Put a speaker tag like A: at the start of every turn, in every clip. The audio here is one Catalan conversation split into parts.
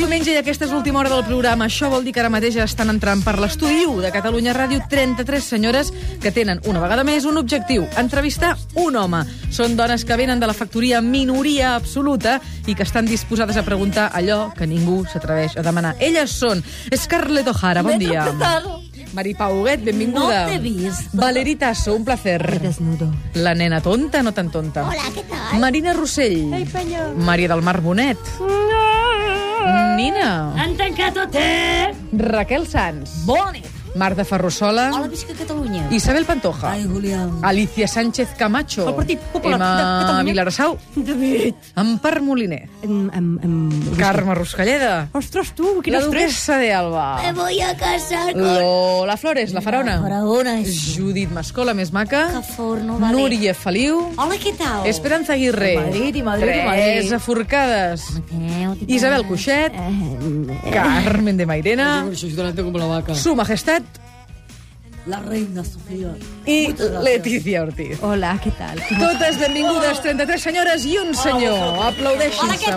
A: diumenge i aquesta és l'última hora del programa. Això vol dir que ara mateix estan entrant per l'estudi 1 de Catalunya Ràdio 33 senyores que tenen una vegada més un objectiu, entrevistar un home. Són dones que venen de la factoria minoria absoluta i que estan disposades a preguntar allò que ningú s'atreveix a demanar. Elles són Scarlett O'Hara, bon dia. Mari Pauguet, benvinguda.
B: No t'he vist.
A: Valeri Tasso, un placer.
B: desnudo.
A: La nena tonta, no tan tonta.
C: Hola, ¿qué tal?
A: Marina Rossell.
C: Ei, senyor.
A: Maria del Mar Bonet. Nina.
B: Mm. Han tancat hotel!
A: Raquel Sanz.
B: Boni!
A: Marta
B: Hola,
A: Ferrusola.
B: visca Catalunya!
A: Isabel Pantoja.
B: Ai, Julián.
A: Alicia Sánchez Camacho.
B: El Partit Popular de
A: Emma
B: Catalunya.
A: Vilarasau.
B: David!
A: Empar Moliner.
B: Em, em, em...
A: Carme Ruscalleda.
B: Ostres, tu,
A: La
B: quin estrès!
A: duquesa de Alba.
C: Me voy a casar con...
A: Lola Flores, la farona.
B: Paraona, és...
A: Judit Mascola, més
B: Que
A: maca.
B: forno, vale.
A: Núria Feliu.
B: Hola, què tal?
A: Esperanza Aguirre.
B: Madrid i Madrid i Madrid.
A: Teresa Forcades.
B: Adéu, tita.
A: Isabel Cuixet.
B: Eh,
A: Carmen de Mairena.
D: Adelante como la vaca.
A: Su Majestat
B: La reina Sofia.
A: i Letícia Ortiz.
B: Hola, què tal?
A: Totes benvingudes, 33 senyores i un senyor. Aplaudeixin-se.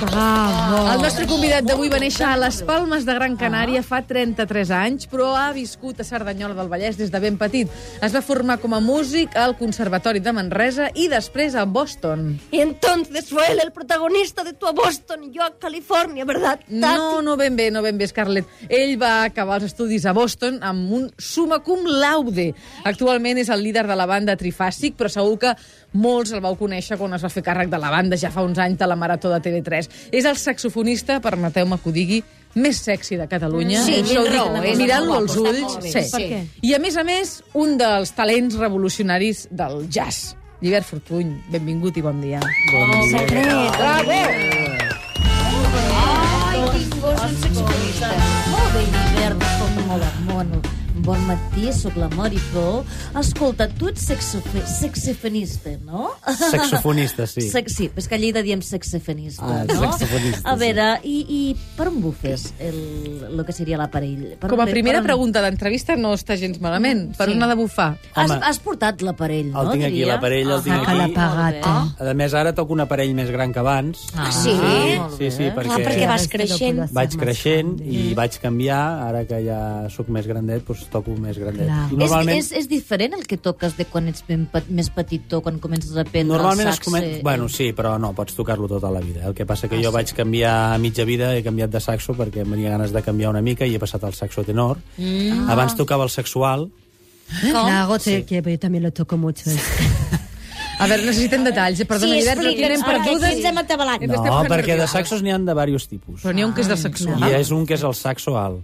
B: Bravo!
A: El nostre convidat d'avui va néixer a les Palmes de Gran Canària fa 33 anys, però ha viscut a Cerdanyola del Vallès des de ben petit. Es va formar com a músic al Conservatori de Manresa i després a Boston.
C: Y entonces fue él el protagonista de tu a Boston y yo a California, ¿verdad?
A: No, no ben bé, no ben bé, Scarlett. Ell va acabar els estudis a Boston amb un summa cum laude. Actualment és el líder de la banda Trifàsic, però segur que molts el vau conèixer quan es va fer càrrec de la banda ja fa uns anys de la Marató de TV3. És el saxofonista, permeteu-me que ho digui, més sexy de Catalunya.
B: Sí,
A: Això ho
B: tens
A: dic
B: raó, és
A: Mirant-lo
B: molt
A: als
B: guapo,
A: ulls,
B: està molt bé.
A: sí.
B: Per què?
A: I, a més a més, un dels talents revolucionaris del jazz. Llibert Fortuny, benvingut i bon dia.
B: Oh, Secret!
A: Bravo!
B: Ai, quin gos en sexualista. Molt bé, Llibert, escolta, molt de mono. Bon matí, sóc la Mari Pou. Escolta, tu ets sexofe- saxofonista, no?
D: Saxofonista, sí.
B: Sax- sí, però és que a Lleida diem saxofonista,
D: Ah,
B: no?
D: saxofonista,
B: A
D: sí.
B: veure, i, i per on bufes el, el que seria l'aparell? Per
A: Com a
B: on-
A: primera
B: per on-
A: pregunta d'entrevista no està gens malament. Per
B: Sí.
A: on ha de bufar?
B: Has,
D: Home,
B: has portat l'aparell, no?
D: el tinc aquí,
B: diria?
D: l'aparell el tinc
B: Saca
D: aquí.
B: la pagata.
D: A més, ara toco un aparell més gran que abans.
B: Ah,
C: sí?
B: molt
D: Sí,
B: bé. Ah,
D: sí, perquè,
C: Clar, perquè vas creixent.
D: vaig creixent i vaig canviar. Ara que ja sóc més grandet, doncs toco més grandet.
B: Clar.
D: I normalment,
B: És, és, és diferent el que toques de quan ets ben, pe- més petit o quan comences a aprendre
D: normalment
B: el
D: es
B: sax?
D: comen... Bueno, sí, però no, pots tocar-lo tota la vida. El que passa que
B: Ah,
D: jo vaig canviar a mitja vida, he canviat de saxo perquè em venia ganes de canviar una mica i he passat al saxo tenor. Mm. Abans tocava el sexual,
E: Claro, te- que yo también lo toco mucho.
A: A veure, necessitem detalls. eh? Perdona, sí, Llibert, perquè n'hem perdudes.
C: ens hem atabalat.
A: Estem
D: No,
A: fent
D: perquè de
A: nerviosa.
D: saxos n'hi han de diversos tipus.
A: Però n'hi ha un que és de sexual.
D: I és un que és el saxo alt.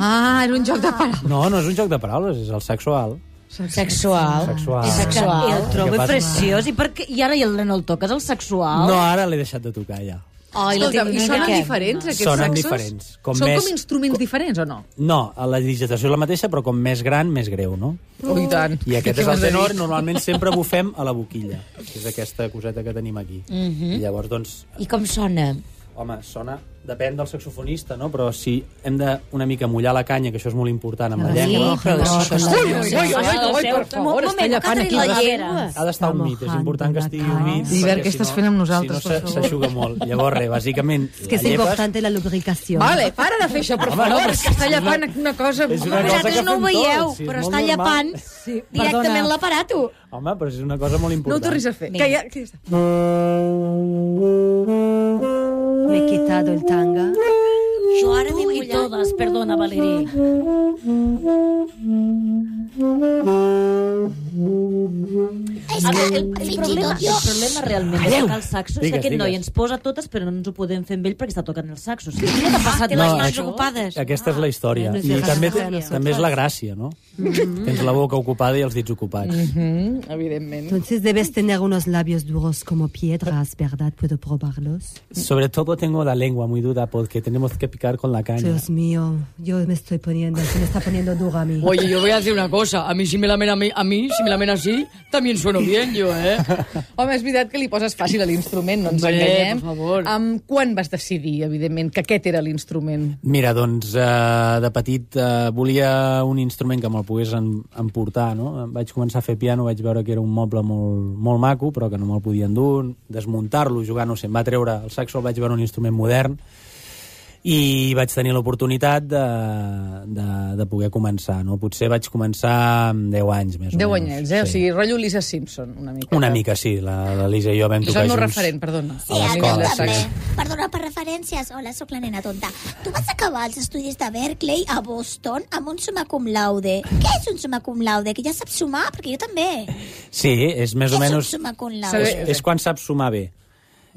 A: Ah, era un joc de paraules.
D: No, no és un joc de paraules, és el sexual.
B: Sexual.
D: Sexual.
B: Sexual. El
D: Que
B: trobo
D: passa-
B: preciós. I, per què, I ara ja el- no el toques, el sexual?
D: No, ara l'he deixat de tocar, ja.
B: Ai, la
A: Escolta'm,
B: tinc-
A: I
B: mira
A: sonen
B: què.
A: diferents, aquests
D: Sonen
A: saxos?
D: diferents. Com
A: Són
D: més-
A: com instruments diferents, o no?
D: No, la digitació és la mateixa, però com més gran, més greu, no?
A: Oh, i tant.
D: I aquest
A: Què
D: és el
A: m'has de
D: tenor,
A: dir?
D: normalment sempre bufem a la boquilla, que és aquesta coseta que tenim aquí.
B: Mhm.
D: I llavors, doncs,
B: I com sona?
D: home, sona... Depèn del saxofonista, no? Però si hem de una mica mullar la canya, que això és molt important amb la llengua...
B: Ah,
D: doncs,
B: però això és...
A: Ui, ui, ui, ui, ui, per favor,
B: Un
A: està
B: moment,
A: llepant
B: que
A: aquí.
B: la
A: la-
B: llera.
D: Ha d'estar humit, és important que estigui humit.
A: Llibert,
D: perquè
A: què
D: si
A: estàs
D: no-
A: fent amb nosaltres,
D: Si
A: per
D: no, se-
A: favor?
D: s'aixuga molt. Llavors, res, bàsicament...
E: Es que es
D: la llepes,
E: importante la lubricación.
A: Vale, para de fer això, per
D: Home, Ah, no,
A: favor,
D: però
A: que està llepant una cosa...
D: És una cosa que
C: Vosaltres no ho
D: fem
C: veieu,
D: tots, sí, és
C: però
D: molt
C: està
D: normal.
C: llepant directament l'aparato.
D: Home, però és una cosa molt
A: No
D: important.
A: ho tornis a fer. Que ja, que ja està.
E: Me he quitado el tanga.
C: Jo ara m'he mullat.
B: todas, perdona, Valerí.
C: És que el, el
B: problema,
C: problema...
B: el problema realment de tocar el saxo és que
D: Digues,
B: aquest
D: digues.
B: noi ens posa totes, però no ens ho podem fer amb ell perquè està tocant el saxo. O sigui, què t'ha passat?
D: No, això-
C: ocupades.
D: Aquesta és la història.
E: Ah,
D: I
E: sí,
D: també,
E: sí, sí, sí.
D: també és la gràcia, no? Tens la boca ocupada i els dits ocupats.
A: Mm, evidentment.
E: Entonces debes tener unos labios duros como piedras, ¿verdad? ¿Puedo probarlos?
D: Sobretot tengo la lengua muy dura porque tenemos que picar con la caña.
E: Dios mío, yo me estoy poniendo, se me está poniendo duro a mí.
F: Oye, yo voy a decir una cosa. A mí si me la mena a mí, a mí si me la mena así, también sueno
A: dient jo, eh? Home, és veritat que li poses fàcil a l'instrument, no ens
F: Hombre,
A: enganyem.
F: por favor.
A: Um, quan vas decidir, evidentment, que aquest era l'instrument?
D: Mira, doncs, eh, de petit eh, volia un instrument que me'l pogués em- emportar, no? Em Vaig començar a fer piano, vaig veure que era un moble molt, molt maco, però que no me'l podia endur, desmuntar-lo, jugar, no sé, em va treure el saxo, el vaig veure un instrument modern, i vaig tenir l'oportunitat de, de, de poder començar, no? Potser vaig començar amb 10 anys, més o
A: Deu
D: menys.
A: anyets, eh? O sigui, rotllo Lisa Simpson, una mica.
D: Una mica, sí. La- L'Elisa i jo vam tocar
A: Són no
D: junts.
A: referent, perdona.
G: Sí,
D: A
G: a mi
D: l'escola,
G: també.
D: sí.
G: Perdona per referències. Hola, sóc la nena tonta. Tu vas acabar els estudis de Berkeley a Boston amb un summa cum laude. Què és un summa cum laude? Que ja saps sumar, perquè jo també.
D: Sí, és més o
G: Què és
D: menys...
G: un summa cum
A: Saber-
G: laude?
D: És, és quan saps sumar bé.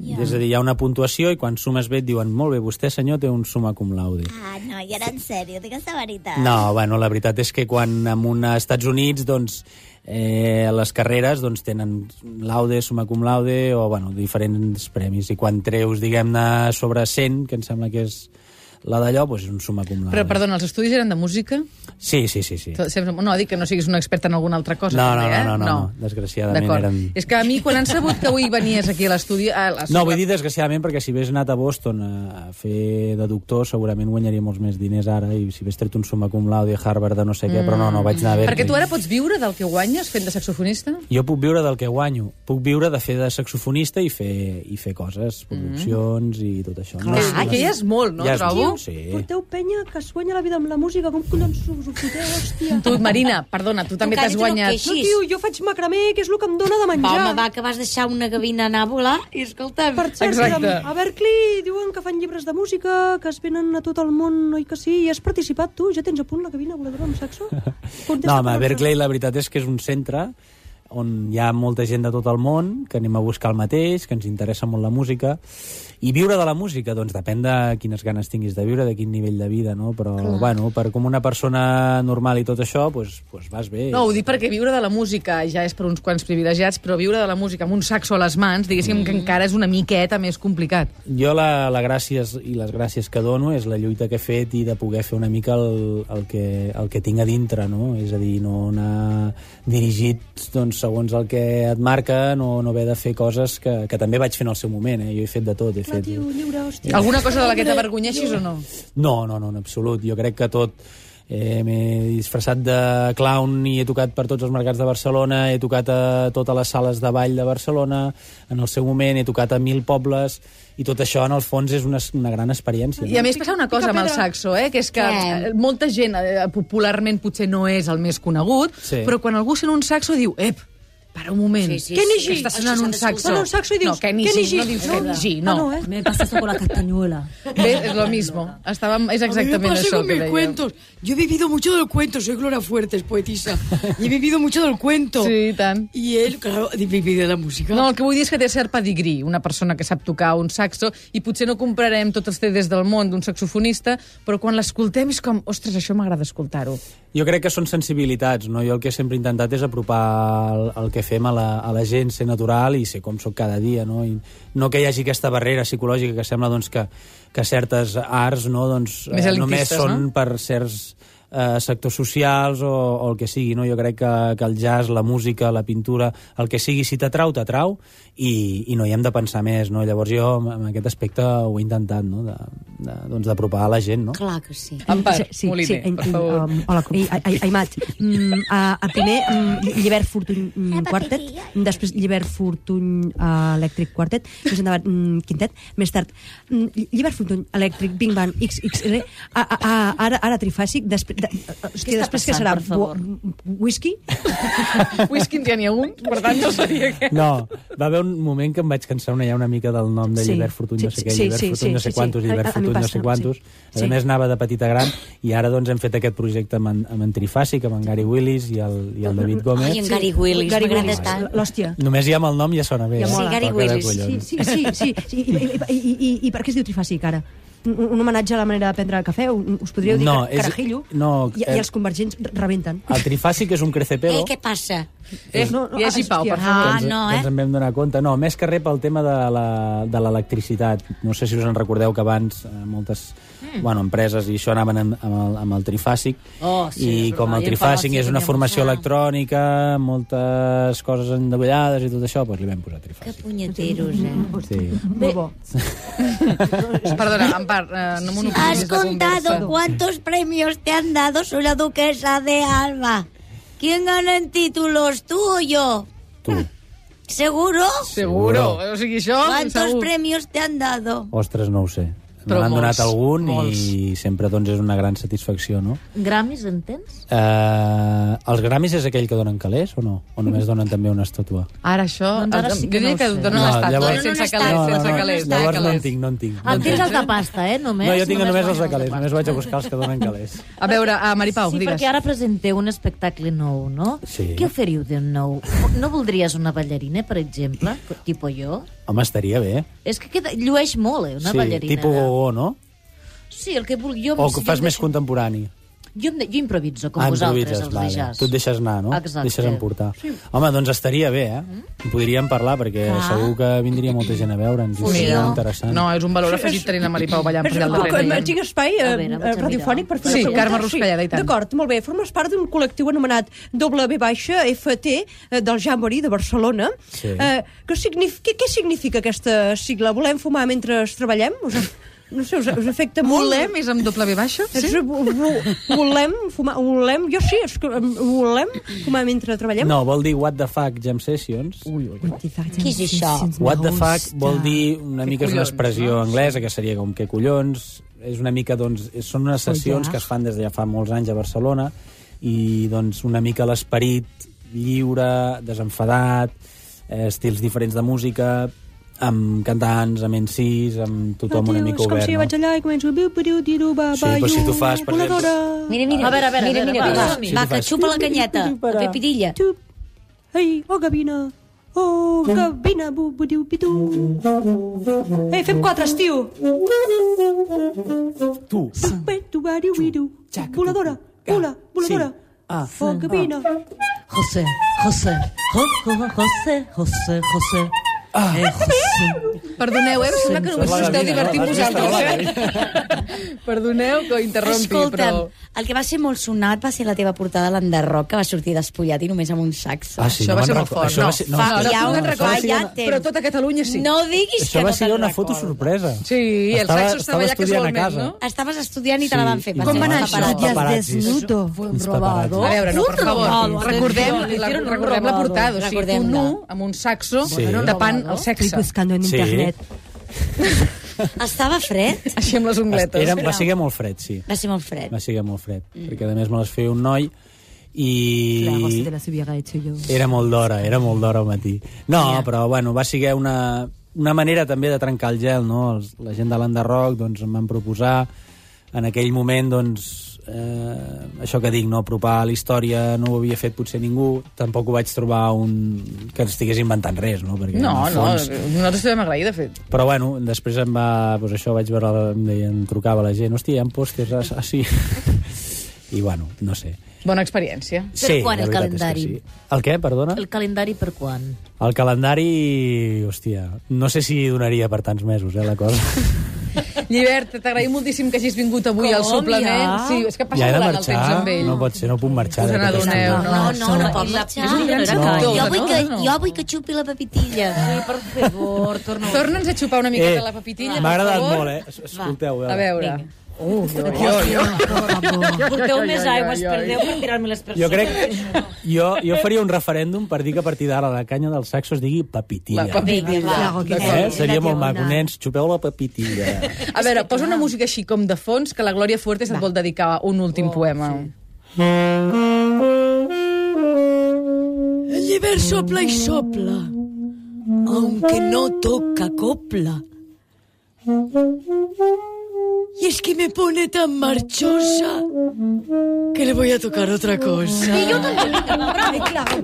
D: Yeah. És a dir, hi ha una puntuació i quan sumes bé et diuen molt bé, vostè senyor té un summa cum laude.
G: Ah, no, i ara en sèrio, digues la veritat.
D: No, bueno, la veritat és que quan en un Estats Units, doncs, eh, les carreres doncs, tenen laude, summa cum laude o bueno, diferents premis. I quan treus, diguem-ne, sobre 100, que em sembla que és la d'allò, doncs és un summa cum laude.
A: Però, perdona, els estudis eren de música?
D: Sí, sí, sí. sí.
A: Tot- sempre- No, dic que no siguis un expert en alguna altra cosa.
D: No, no,
A: també, eh?
D: no, no, no, no. Desgraciadament
A: D'acord.
D: eren-
A: És que a mi, quan han sabut que avui venies aquí a l'estudi... a la-
D: No, vull dir desgraciadament perquè si hagués anat a Boston a, a fer de doctor segurament guanyaria molts més diners ara i si hagués tret un summa cum laude a Harvard de no sé què, però no, no, vaig anar a
A: Mm. Perquè
D: Berkeley.
A: tu ara pots viure del que guanyes fent de saxofonista?
D: Jo puc viure del que guanyo, puc viure de fer de saxofonista i fer, i fer coses, produccions i tot això.
A: Mm. Clar,
D: sé,
A: que ja és molt, no,
D: ja és
A: trobo?
D: molt, Sí.
F: Porteu penya que es guanya la vida amb la música, com collons us ho foteu, hòstia?
A: Tu, Marina, perdona, tu també
B: Encara
A: t'has
B: tu no et
A: guanyat...
F: No, tio, jo faig macramé, que és el que em dóna de
B: Va,
F: menjar.
B: home, va, que vas deixar una gavina anar a volar i escolta'm...
F: Per sort,
A: Exacte.
F: Exacte. a Berkeley diuen que fan llibres de música, que es venen a tot el món, oi que sí? I has participat tu? Ja tens a punt la cabina voladora amb saxo? Contesta
D: No, home,
F: per
D: Berkeley la veritat és que és un centre on hi ha molta gent de tot el món que anem a buscar el mateix, que ens interessa molt la música i viure de la música doncs depèn de quines ganes tinguis de viure de quin nivell de vida, no? però bueno, per com una persona normal i tot això doncs, doncs vas bé
A: No, ho dic perquè viure de la música ja és per uns quants privilegiats, però viure de la música amb un saxo a les mans, diguéssim que encara és una miqueta més complicat.
D: Jo la, la gràcies i les gràcies que dono és la lluita que he fet i de poder fer una mica el, el, que, el que tinc a dintre, no? És a dir, no anar dirigit doncs, segons el que et marca, no, no haver de fer coses que, que també vaig fer en el seu moment, eh? Jo he fet de tot, he fet...
F: Tio, lliure, hòstia.
A: Alguna cosa de la que t'avergonyeixis o no?
D: No, no, no, en absolut. Jo crec que tot... Eh, M'he disfressat de clown i he tocat per tots els mercats de Barcelona, he tocat a totes les sales de ball de Barcelona, en el seu moment he tocat a mil pobles, i tot això, en el fons, és una, una gran experiència.
A: I a més passa una cosa amb el
F: pedra.
A: saxo, eh? que és que eh,
B: Què?
A: molta gent eh, popularment potser no és el més conegut,
D: Sí.
A: però quan algú sent un saxo diu, ep, para un moment,
B: Sí, sí,
A: que
B: sí.
A: Que està sonant
B: Això s'ha
A: un
B: d'escoltar.
A: saxo.
F: Sona un saxo i dius,
A: no, que ni
F: "Què
A: sí,
F: ni sí?"
A: no dius
F: No.
A: que ni sí,
F: Ah,
A: no.
F: no, eh?
B: Me pasa con la castañuela.
A: Bé, és lo mismo. Estàvem, és
H: A mí me
A: exactament
H: pasa
A: això
H: con
A: que
H: mis
A: dèiem.
H: cuentos. Yo he vivido mucho del cuento, soy Gloria Fuertes, poetisa. Y he vivido mucho del cuento.
A: Sí, i tant.
H: Y él, claro, he vivido de la música.
A: No, el que vull dir és que té cert pedigrí, una persona que sap tocar un saxo, i potser no comprarem tots els CDs del món d'un saxofonista, però quan l'escoltem és com, ostres, això m'agrada escoltar-ho.
D: Jo crec que són sensibilitats, no? Jo el que sempre he intentat és apropar el, el que fem a la, a la gent, ser natural i ser com sóc cada dia, no? I no que hi hagi aquesta barrera psicològica que sembla doncs, que, que certes arts no, doncs, eh,
A: Més elitistes,
D: només són
A: no?
D: per certs eh, sectors socials o, o el que sigui, no? Jo crec que, que el jazz, la música, la pintura, el que sigui, si t'atrau, t'atrau i, i no hi hem de pensar més, no? Llavors jo en- en aquest aspecte ho he intentat, no? De- de- doncs, d'apropar a la gent, no?
B: Clar que sí. um,
A: Empar, Moliner,
E: em-
A: per
E: em-
A: favor.
E: em- hola, com- i- ai- ai- Aimat. Mm, a, a primer, mm, Llibert Fortuny mm, Quartet, mm, després Llibert Fortuny uh, Electric Quartet, més endavant mm, Quintet, més tard mm, Lli- Llibert Fortuny Electric Big Band XXL, a, a, a, ara, ara Trifàsic, després, de, hòstia,
B: està
E: després que
B: passant,
E: serà
B: per favor?
E: Wo- whisky,
A: Whisky ja n'hi ha un, per tant no seria aquest.
D: No, va haver un moment que em vaig cansar una, ja una mica del nom de
E: Sí.
D: Llibert Fortuny, no
E: Sí,
D: sé què,
E: sí,
D: Llibert
E: sí,
D: Fortuny, no
E: sí,
D: sé
E: sí,
D: quantos,
E: sí. A-
D: Llibert
E: a mi
D: Fortuny, no
E: passa,
D: sé quantos.
E: sí.
D: A més, anava de petita a gran, i ara doncs hem fet aquest projecte amb en, amb en Trifàsic, amb en Gary Willis i el, i el David
B: Ai, en
D: Gómez.
B: Gary Willis,
E: Gary
B: m'agrada
E: Willis,
B: tant.
E: l'hòstia.
D: Només ja amb el nom ja sona bé.
E: Ja
D: eh?
E: mola.
B: Sí, Gary
D: Toca de
B: Willis.
D: collons.
E: Sí, sí, sí, sí. I, i, i, i, i per què es diu Trifàsic, ara?
I: un, un homenatge a la manera de prendre cafè? Un- Us podríeu dir
D: No,
I: no,
D: és-
I: carajillo?
D: no,
I: I,
D: eh,
I: I els convergents re- rebenten.
D: El trifàsic és un crecepelo.
B: Eh, què passa?
A: Eh,
I: No, no,
A: i així, Pau, per
I: hòstia.
A: favor.
B: Ah,
D: que ens,
B: no,
D: que
B: eh?
D: ens en vam donar compte. No, més que res pel tema de la- de l'electricitat. No sé si us en recordeu que abans eh, moltes
B: Mm.
D: bueno, empreses i això anaven amb, amb, el, amb el trifàsic
B: Oh, sí,
D: i
B: és
D: com
B: verdad.
D: el
B: I en
D: trifàsic
B: farmàcia
D: és una
B: tenia
D: formació
B: molta-
D: electrònica, moltes coses endollades i tot això, doncs li vam posar
B: Que
D: trifàsic.
B: punyeteros, eh?
D: Sí.
I: Molt bo.
A: Perdona, Ampar, eh, no monopolitzis
J: Has
A: la
J: contado
A: conversa.
J: cuántos premios te han dado, soy la duquesa de Alba. ¿Quién gana en títulos, tú o yo?
D: Tu.
J: ¿Seguro?
A: Seguro. O sigui, això,
J: ¿Cuántos
A: segur.
J: premios te han dado?
D: Ostres, no ho sé.
A: Però
D: M'han
A: molts,
D: donat algun i
A: molts.
D: sempre doncs, és una gran satisfacció, no?
B: Gramis, entens?
D: Eh, els Grammys és aquell que donen calés o no? O només donen també una estàtua?
A: Ara això...
B: Doncs ara sí
A: jo
B: que
A: diria
B: no ho
A: que
B: sé.
A: donen
B: No,
A: no, estat,
D: llavors-
A: llavors, sense
B: No,
A: calés,
B: no,
A: sense
B: no,
A: calés.
B: no,
A: sense
D: llavors no
A: calés.
D: en tinc, no en tinc. No,
B: Ah,
D: en tinc.
B: tens els de pasta, eh, només?
D: Doncs no jo tinc només
B: guanyo
D: els de calés,
B: pasta.
D: només vaig a buscar els que donen calés.
A: A veure, a Maripau,
B: sí,
A: digues.
B: perquè ara presenteu un espectacle nou, no?
D: Sí.
B: Què oferiu de nou? No voldries una ballarina, per exemple? Tipo jo?
D: Home, estaria bé.
B: És que queda, llueix molt, eh, una
D: sí,
B: ballarina.
D: tipus gogó, no?
B: Sí, el que vulgui. Jo,
D: O
B: jo
D: que
B: em
D: fas més
B: deixo-
D: contemporani.
B: Jo, em de- jo improviso, com
D: Ah,
B: vosaltres,
D: improvises,
B: els
D: vale.
B: de jazz.
D: Tu et deixes anar, no?
B: Exacte.
D: Deixes emportar. Home, doncs estaria bé, eh? En Podríem parlar, perquè segur que vindria molta gent a veure'ns. i Seria interessant.
A: No, és un valor afegit tenint la Maripau ballant per allà al
E: Com a
A: darrere.
E: xic espai eh,
B: A veure, vaig a mirar.
E: radiofònic per fer
A: Sí,
E: una pregunta.
A: Carme Ruscalleda, i tant.
E: D'acord, molt bé. Formes part d'un col·lectiu anomenat W-FT eh, del Jamboree de Barcelona.
D: Sí.
E: Eh, que signif què, què significa aquesta sigla? Volem fumar mentre treballem? Us, no sé, us, us afecta molt? eh?
A: Volem és amb doble B baixa?
E: Sí? Volem fumar, volem, jo sí, és que, em, volem fumar mentre treballem.
D: No, vol dir What the Fuck Jam Sessions.
I: Què
B: és això?
D: What the fuck vol dir una mica és una
A: collons,
D: expressió anglesa que seria com que collons és una mica doncs és- són unes sessions que es fan des de ja fa molts anys a Barcelona i doncs una mica l'esperit lliure, desenfadat eh, estils diferents de música amb cantants, amb NC's amb tothom una mica
E: És com
D: obert
E: si jo vaig
D: no?
E: allà i començo... Biu, biu, diru, ba,
D: Sí,
E: ba,
D: però si tu fas, per exemple-
B: Mira, mira, a veure, a veure, mira, mira,
D: va,
B: va,
D: som-hi.
B: va,
D: Sí,
B: que
D: fas.
B: xupa la canyeta, la pepidilla.
E: Xup. Ei, oh, gavina. Oh, gavina, bu, bu, diu, pitu. Ei, fem quatre, estiu.
D: Tu,
E: Bé, tu, ba, diu, bidu. Voladora, vola, voladora.
D: Ah.
E: Oh, gavina.
B: José, José, José, José, José. Ah. Eh, José.
A: Perdoneu, eh? em Sembla que només us esteu divertint vosaltres, eh? Perdoneu que interrompi, però...
G: Escolta'm, el que va ser molt sonat va ser la teva portada a l'enderroc, que va sortir despullat i només amb un saxo.
D: Ah, sí,
A: això
D: no
A: va
D: me'n
A: ser molt
D: recordo.
A: fort.
D: Això va ser-
A: no,
D: no,
A: no,
D: això-
A: no, no,
G: ja ho
A: no,
G: recordo,
A: recordo,
G: ja
A: no,
G: ho
A: però tota Catalunya sí.
G: No diguis
D: això
G: que
D: va
G: no
D: ser
G: te'n
D: una
G: recordes.
D: foto sorpresa
A: Sí, el
D: Estava-
A: saxo es
D: estava
A: treballa que és
D: estudiant
A: molt
D: a
A: més,
D: casa.
A: no?
G: Estaves estudiant i te la van fer passar.
D: Com va anar
G: Paparazzi.
D: això? Paparazzis.
I: desnudo.
G: Fue un
D: Uns
G: robado.
D: paparazzis.
A: A veure, no, per
G: Un robado,
A: favor, recordem,
G: atenció, le
A: la,
G: hicieron un
A: recordem la
G: robado.
A: portada, o sigui, un
G: Recordem-la.
A: nu amb un saxo
D: Sí.
A: tapant el
I: Estic
A: sexe,
I: buscant en
D: Sí.
I: internet.
G: Estava fred?
A: així amb les ungletes.
D: Era, va ser molt fred, sí
G: Va ser molt fred.
D: va ser molt fred, mm. perquè a més me les feia un noi i...
I: La gossa de la subiega he hecho yo.
D: Era molt d'hora, era molt d'hora al matí. No, yeah. però bueno, va ser una, una manera també de trencar el gel, no? Els, la gent de l'Enderroc doncs, em van proposar en aquell moment, doncs, eh, això que dic, no apropar la història, no ho havia fet potser ningú, tampoc ho vaig trobar un... que estigués inventant res, no? Perquè,
A: No,
D: en el
A: no,
D: fons,
A: nosaltres t'ho vam agrair, de fet.
D: però bueno, després em va... Doncs això, vaig veure, la- em, deia, em trucava la gent, hòstia, hi ha pòsters, ah, ah, sí. I bueno, no sé.
A: Bona experiència.
B: Per quan
D: la
B: el
D: veritat és que
B: calendari?
D: Sí. El què, perdona?
B: El calendari per quan?
D: El calendari, hòstia, no sé si donaria per tants mesos, eh, la cosa.
A: Llibert, t'agraïm moltíssim que hagis vingut avui al suplement. Sí, és que passa
D: ja he de
A: volant el
D: marxar,
A: temps amb ell.
D: no pot ser, no puc marxar.
A: Us
D: d'aquesta
A: n'adoneu,
D: estona.
A: no?
G: No, no, no pot
B: És un
G: marxar.
B: gran
D: No.
B: sector.
G: Jo
A: No,
G: vull,
A: no,
G: que,
A: no.
G: jo vull que xupi la pepitilla.
B: Sí, per favor, torna
A: Torna'ns a xupar una miqueta la papitilla,
D: Eh, M'ha
A: per
D: agradat
A: favor.
D: molt, eh? Es- Escolteu,
A: A veure. Uh, jo, jo, jo.
B: Porteu més
A: ai, ai,
B: aigües,
A: ai.
B: perdeu per tirar-me les persones.
D: Jo crec... Jo, jo faria un referèndum per dir que a partir d'ara la canya del saxo es digui papitilla.
A: La papitilla.
I: Claro que
D: Eh?
I: sí.
D: Seria
I: La
D: molt
I: diagonal.
D: maco, nens, xupeu la papitilla.
A: A veure, posa una música així com de fons que la Glòria Fuertes et vol dedicar un últim
D: Oh,
A: poema.
H: El llibert sopla y sopla, aunque no toca copla. Y es que me pone tan marchosa que le voy a tocar otra cosa.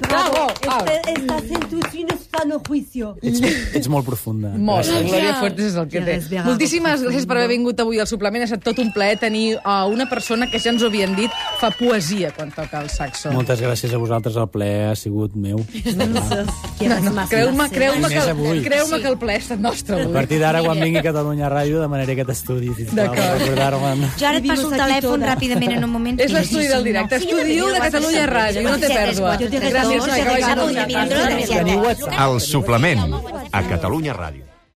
A: Bravo! Bravo!
I: Estás en tus finos
K: sano juicio.
D: Ets, ets molt profunda.
A: Molt, la
D: Gràcies.
A: Glòria Fuertes és el que té. Moltíssimes gràcies per haver vingut avui al suplement. Ha estat tot un plaer tenir a una persona que ja ens ho havien dit fa poesia quan toca el saxo.
D: Moltes gràcies a vosaltres, el plaer ha sigut meu.
A: No, no, creu-me, creu-me,
D: Més
A: que,
D: avui.
A: creu que el plaer ha estat nostre
D: A
A: avui.
D: partir d'ara, quan vingui a Catalunya Ràdio, demanaré aquest estudi. D'acord. Recordar-me'n.
L: Jo ara et passo el telèfon ràpidament en un moment.
A: És l'estudi del directe. Estudi u de Catalunya Ràdio, no té pèrdua. Gràcies, noia, que vagi tot.
M: El suplement a Catalunya Ràdio.